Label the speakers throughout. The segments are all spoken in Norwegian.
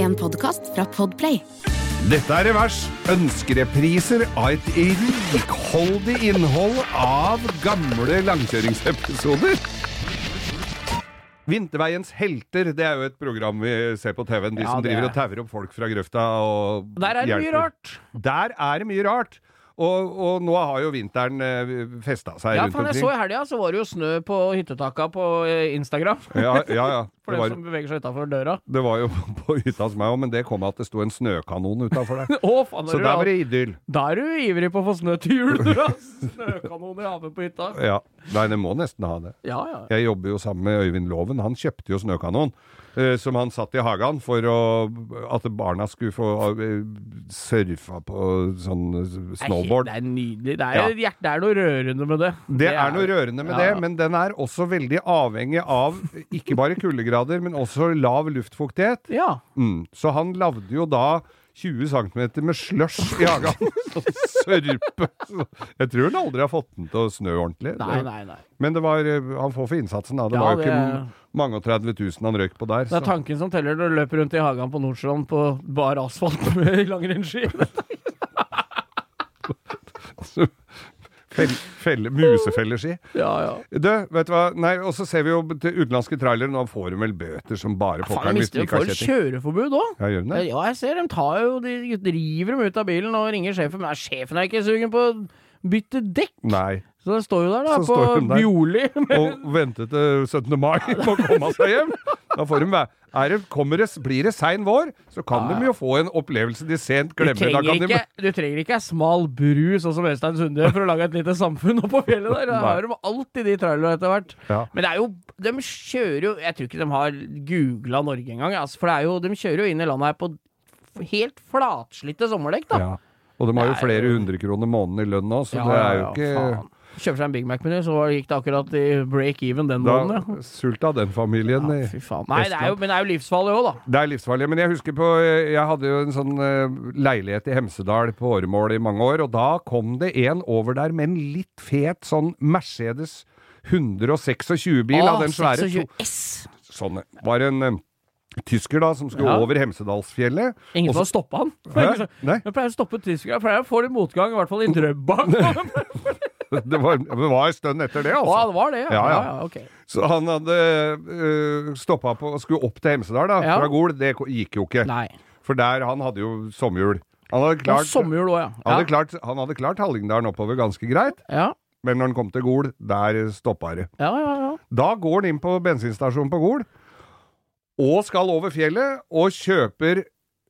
Speaker 1: en podkast fra Podplay.
Speaker 2: Dette er Revers. Ønskerepriser av et rikholdig innhold av gamle langkjøringsepisoder. Vinterveiens helter, det er jo et program vi ser på TV-en. De
Speaker 3: Ja,
Speaker 2: som
Speaker 3: det
Speaker 2: driver
Speaker 3: er.
Speaker 2: og tauer opp folk fra grøfta og
Speaker 3: Der er det mye
Speaker 2: hjelper.
Speaker 3: rart.
Speaker 2: Der er det mye rart. Og, og nå har jo vinteren eh, festa seg
Speaker 3: Ja,
Speaker 2: rundt
Speaker 3: faen, jeg så i
Speaker 2: omkring.
Speaker 3: helga, så var det jo snø på hyttetaka på eh, Instagram.
Speaker 2: Ja, ja, ja.
Speaker 3: For
Speaker 2: Det,
Speaker 3: dem
Speaker 2: var,
Speaker 3: som beveger seg utafor døra.
Speaker 2: det var jo på hytta hos meg òg, men det kom at det sto en snøkanon utafor der.
Speaker 3: Å, faen,
Speaker 2: Så
Speaker 3: er du,
Speaker 2: der var
Speaker 3: al-
Speaker 2: det idyll.
Speaker 3: da er du ivrig på å få snø til jul, du, ass! Snøkanon i haven på hytta.
Speaker 2: Ja. Nei, det må nesten ha det.
Speaker 3: Ja, ja.
Speaker 2: Jeg jobber jo sammen med Øyvind Loven. Han kjøpte jo snøkanon, eh, som han satt i hagen for å, at barna skulle få eh, surfa på sånn snowboard.
Speaker 3: Det er nydelig. Det er,
Speaker 2: Ja.
Speaker 3: hjerte- det er noe rørende med det.
Speaker 2: Det er noe rørende med
Speaker 3: Ja, ja.
Speaker 2: det, men den er også veldig avhengig av ikke bare kuldegrader, men også lav luftfuktighet.
Speaker 3: Ja.
Speaker 2: Mm. Så han lagde jo da 20 cm med slush i hagen. Sånn Sørpe. Jeg tror han aldri har fått den til å snø ordentlig.
Speaker 3: Nei, nei, nei.
Speaker 2: Men det var, eh, han får for innsatsen, da. Det
Speaker 3: Ja,
Speaker 2: var jo
Speaker 3: det-
Speaker 2: ikke mange og 30 000 han røyk på der.
Speaker 3: Det
Speaker 2: Så.
Speaker 3: er tanken som teller når du løper rundt i hagen på Nordstrand på bar asfalt med langrennsski.
Speaker 2: Fell, felle, musefelleski.
Speaker 3: Ja, ja.
Speaker 2: Du, vet du hva? Nei, og så ser vi jo til utenlandske trailere, nå får de vel bøter som bare
Speaker 3: Faen, jeg
Speaker 2: pokkeren hvis
Speaker 3: mister
Speaker 2: de
Speaker 3: jo
Speaker 2: ikke har
Speaker 3: for
Speaker 2: kjetting.
Speaker 3: kjøreforbud òg.
Speaker 2: Ja, gjør de det?
Speaker 3: Ja, jeg ser dem tar jo De driver dem ut av bilen og ringer sjefen. Men sjefen er ikke sugen på å bytte dekk!
Speaker 2: Nei.
Speaker 3: Så den står jo der, da,
Speaker 2: Så står hun
Speaker 3: på
Speaker 2: der.
Speaker 3: Bjoli.
Speaker 2: og vente til 17. mai på å komme seg hjem. Da får de være. Er det, kommer det, blir det sein vår, så kan de jo få en opplevelse de sent
Speaker 3: Du
Speaker 2: glemmer. Da
Speaker 3: trenger,
Speaker 2: kan de,
Speaker 3: ikke, du trenger ikke ei smal bru, sånn som Øystein Sunde, for å lage et lite samfunn oppå fjellet der. Der
Speaker 2: Nei.
Speaker 3: har de alltid de trailerne etter hvert.
Speaker 2: Ja.
Speaker 3: Men det er jo De kjører jo Jeg tror ikke de har googla Norge engang, altså, for det er jo, de kjører jo inn i landet her på helt flatslitte sommerdekk, da.
Speaker 2: ja. Og de har jo
Speaker 3: Det er
Speaker 2: flere
Speaker 3: jo-
Speaker 2: hundre kroner måneden i lønn nå, så
Speaker 3: Ja,
Speaker 2: det
Speaker 3: ja,
Speaker 2: er jo
Speaker 3: ja,
Speaker 2: ikke
Speaker 3: faen. Kjøper seg en Big Mac-meny, så gikk det akkurat i break even den måneden. ja.
Speaker 2: Da sulta den familien.
Speaker 3: Ja,
Speaker 2: i-
Speaker 3: fy faen. Nei, det er jo,
Speaker 2: Estland.
Speaker 3: men det er jo livsfarlig òg, da.
Speaker 2: Det er livsfarlig. Men jeg husker på Jeg hadde jo en sånn eh, leilighet i Hemsedal på åremål i mange år, og da kom det en over der med en litt fet sånn Mercedes 126-bil
Speaker 3: Ah,
Speaker 2: av den svære to-
Speaker 3: 26 S.
Speaker 2: sånn var en eh, tysker da som skulle
Speaker 3: Ja.
Speaker 2: over Hemsedalsfjellet.
Speaker 3: Ingen
Speaker 2: Og
Speaker 3: som
Speaker 2: så-
Speaker 3: har stoppa han.
Speaker 2: Hæ? Nei,
Speaker 3: Jeg pleier å stoppe tyskere, for jeg får litt motgang, i hvert fall i
Speaker 2: altså.
Speaker 3: Drøbak. altså.
Speaker 2: det var, det var en stund etter det,
Speaker 3: Å,
Speaker 2: altså.
Speaker 3: det var det, ja.
Speaker 2: Ja,
Speaker 3: ja,
Speaker 2: ja.
Speaker 3: ja. ok.
Speaker 2: Så han hadde uh, stoppa på og skulle opp til Hemsedal, da.
Speaker 3: Ja.
Speaker 2: Fra Gol. Det ko- gikk jo ikke.
Speaker 3: Nei.
Speaker 2: For der han hadde jo sommerhjul. Han hadde
Speaker 3: Og
Speaker 2: klart,
Speaker 3: sommerjul òg,
Speaker 2: han
Speaker 3: ja.
Speaker 2: hadde klart, han hadde klart Hallingdalen oppover ganske greit,
Speaker 3: Ja.
Speaker 2: men når han kom til Gol, der stoppa det.
Speaker 3: Ja, ja, ja.
Speaker 2: Da går han inn på bensinstasjonen på Gol, og skal over fjellet, og kjøper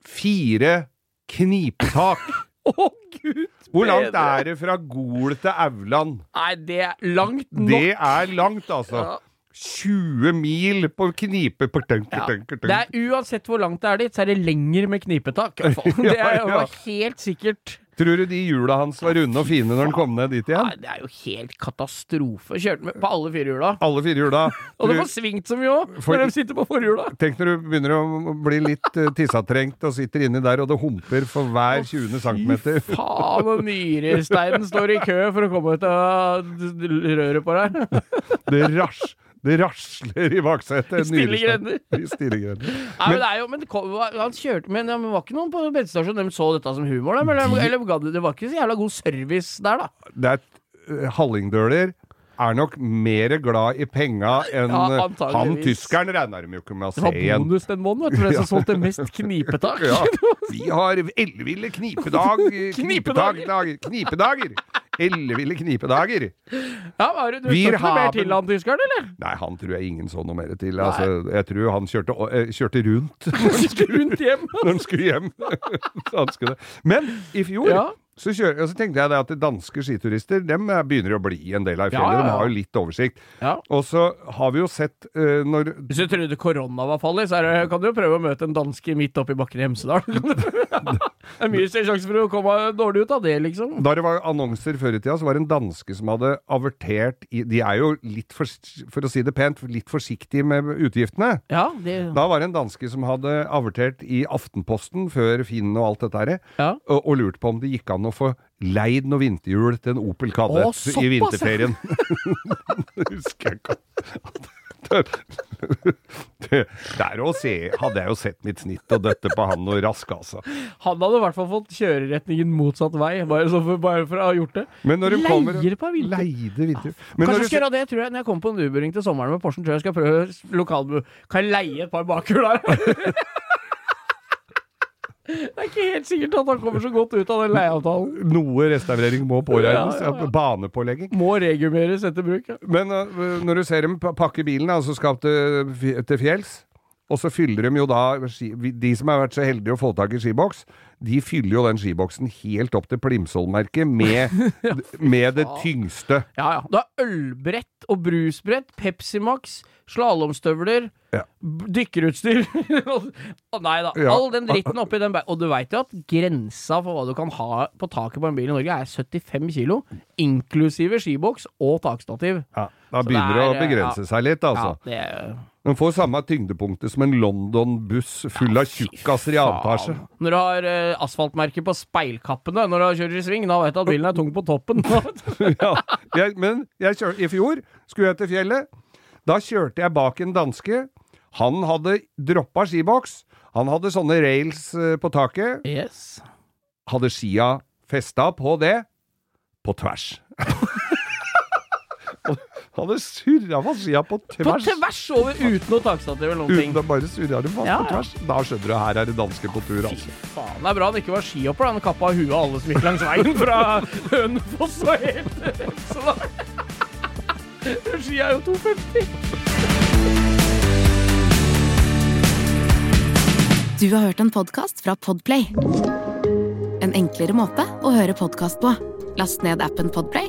Speaker 2: fire knipetak.
Speaker 3: Å, gud!
Speaker 2: Hvor langt
Speaker 3: bedre.
Speaker 2: er det fra Gol til Auland?
Speaker 3: Nei, det er langt nok.
Speaker 2: Det er langt, altså.
Speaker 3: Ja.
Speaker 2: 20 mil på knipe pertønk,
Speaker 3: Ja.
Speaker 2: pertønk, pertønk.
Speaker 3: Det er Uansett hvor langt det er dit, så er det lenger med knipetak. i hvert fall. Det er jo
Speaker 2: Ja, ja.
Speaker 3: helt sikkert
Speaker 2: Tror du de hjula hans var runde og fine når han kom ned dit igjen?
Speaker 3: Nei, det er jo helt katastrofe. Kjørte med på alle fire hjula.
Speaker 2: Alle fire hjula.
Speaker 3: Og det
Speaker 2: Tror-
Speaker 3: får svingt så mye òg,
Speaker 2: For-
Speaker 3: når de sitter på forhjula.
Speaker 2: Tenk når du begynner å bli litt eh, tissatrengt og sitter inni der, og det humper for hver 20. centimeter.
Speaker 3: Faen, og nyresteinen står i kø for å komme ut av røret på deg.
Speaker 2: Det, rasj, det rasler i baksetet.
Speaker 3: I stille
Speaker 2: Nyrestein.
Speaker 3: grender.
Speaker 2: I stille grender.
Speaker 3: Nei, men det er jo, men det kom, han kjørte Men det var ikke noen på bensinstasjonen de så dette som humor, da? Men de, eller, ga det- det var ikke så jævla god service der, da.
Speaker 2: Det er eh, Hallingdøler er nok mer glad i penga enn
Speaker 3: Ja,
Speaker 2: eh, han
Speaker 3: antageligvis.
Speaker 2: tyskeren regner de jo ikke med å
Speaker 3: Det var
Speaker 2: se igjen.
Speaker 3: bonus den måneden, vet du, for den som solgte mest knipetak.
Speaker 2: Ja, vi har elleville knipedag, eh, knipedag, dag- knipedager. Elleville knipedager.
Speaker 3: Ja, var det, du
Speaker 2: Wir
Speaker 3: så ikke noe
Speaker 2: haben-
Speaker 3: mer til han tyskeren, eller?
Speaker 2: Nei, han tror jeg ingen så noe mer til. Altså, jeg tror han kjørte, eh, kjørte rundt
Speaker 3: Rundt hjem.
Speaker 2: når han skulle hjem. Så han skulle. Men i fjor
Speaker 3: Ja.
Speaker 2: så, kjører, og så tenkte jeg det at danske skiturister dem eh, begynner å bli en del av
Speaker 3: Ja,
Speaker 2: fjellet.
Speaker 3: ja,
Speaker 2: De
Speaker 3: ja.
Speaker 2: har jo litt oversikt.
Speaker 3: Ja.
Speaker 2: Og så har vi jo sett eh, når
Speaker 3: Hvis du trodde korona var farlig, så er det, kan du jo prøve å møte en danske midt oppi bakken i Hemsedal. det er mye større sjanse for å komme dårlig ut av det, liksom.
Speaker 2: Da det var annonser før i tida, så var det en danske som hadde avertert i De er jo litt, for, for å si det pent, litt forsiktige med utgiftene.
Speaker 3: Ja, det
Speaker 2: Da var det en danske som hadde avertert i Aftenposten før Finn og alt dette her,
Speaker 3: Ja.
Speaker 2: og, og lurt på om det gikk an å få leid noe vinterhjul til en Opel Kadett
Speaker 3: Å, såpass,
Speaker 2: i
Speaker 3: ja.
Speaker 2: vinterferien. det husker jeg ikke. Det- Der å se, hadde jeg jo sett mitt snitt og døtte på han og rask, altså.
Speaker 3: Han hadde i hvert fall fått kjøreretningen motsatt vei, bare, så for, bare for å ha gjort det.
Speaker 2: Men når hun kommer
Speaker 3: Leier på vinter.
Speaker 2: Leide vinter. Men
Speaker 3: Kanskje
Speaker 2: når
Speaker 3: jeg
Speaker 2: du
Speaker 3: skal gjøre det, tror jeg. Når jeg kommer på en Uber-ring til sommeren med Porschen, tror jeg jeg skal prøve lokalbu. Kan jeg leie et par bakhjul der? det er ikke helt sikkert at han kommer så godt ut av den leieavtalen.
Speaker 2: ser noe restaurering må påregnes,
Speaker 3: Ja, ja, ja.
Speaker 2: banepålegging.
Speaker 3: Må regumeres etter bruk. Ja.
Speaker 2: Men øh, når du ser dem pa- pakke bilen, altså skal opp til, fj- til fjells, og så fyller de jo da ski, vi- De som har vært så heldige å få tak i skiboks, de fyller jo den skiboksen helt opp til Plimsoll-merket med, med det tyngste.
Speaker 3: ja ja. Du har ølbrett og brusbrett, Pepsi Max, slalåmstøvler,
Speaker 2: Ja.
Speaker 3: b- dykkerutstyr Å, Nei da.
Speaker 2: Ja.
Speaker 3: All den dritten oppi den ba- Og du veit jo at grensa for hva du kan ha på taket på en bil i Norge, er 75 kilo, inklusive skiboks og takstativ.
Speaker 2: Da begynner det å
Speaker 3: det er, ja.
Speaker 2: begrense seg litt, altså.
Speaker 3: Ja, det er
Speaker 2: Den får samme tyngdepunktet som en London-buss full av tjukkaser i avtasje.
Speaker 3: Faen. Når du har eh, asfaltmerke på speilkappene når du kjører i sving, da vet du at bilen er tung på toppen.
Speaker 2: ja. jeg, men jeg kjør, i fjor skulle jeg til fjellet. Da kjørte jeg bak en danske. Han hadde droppa skiboks. Han hadde sånne rails eh, på taket.
Speaker 3: yes.
Speaker 2: Hadde skia festa på det, på tvers. hadde surra fast skia på
Speaker 3: På
Speaker 2: tvers.
Speaker 3: tvers over uten noe takstativ eller noen ting.
Speaker 2: Uten å bare surra dem fast
Speaker 3: Ja,
Speaker 2: på
Speaker 3: ja.
Speaker 2: tvers. Da skjønner du, her er det danske på tur, altså.
Speaker 3: Faen, det er bra han ikke var skihopper, da. han kappa huet av alle som gikk langs veien fra Hønefoss og helt Så da Ski er jo 2,50.
Speaker 1: Du har hørt en podcast fra Podplay En enklere måte å høre podcast på Last ned appen Podplay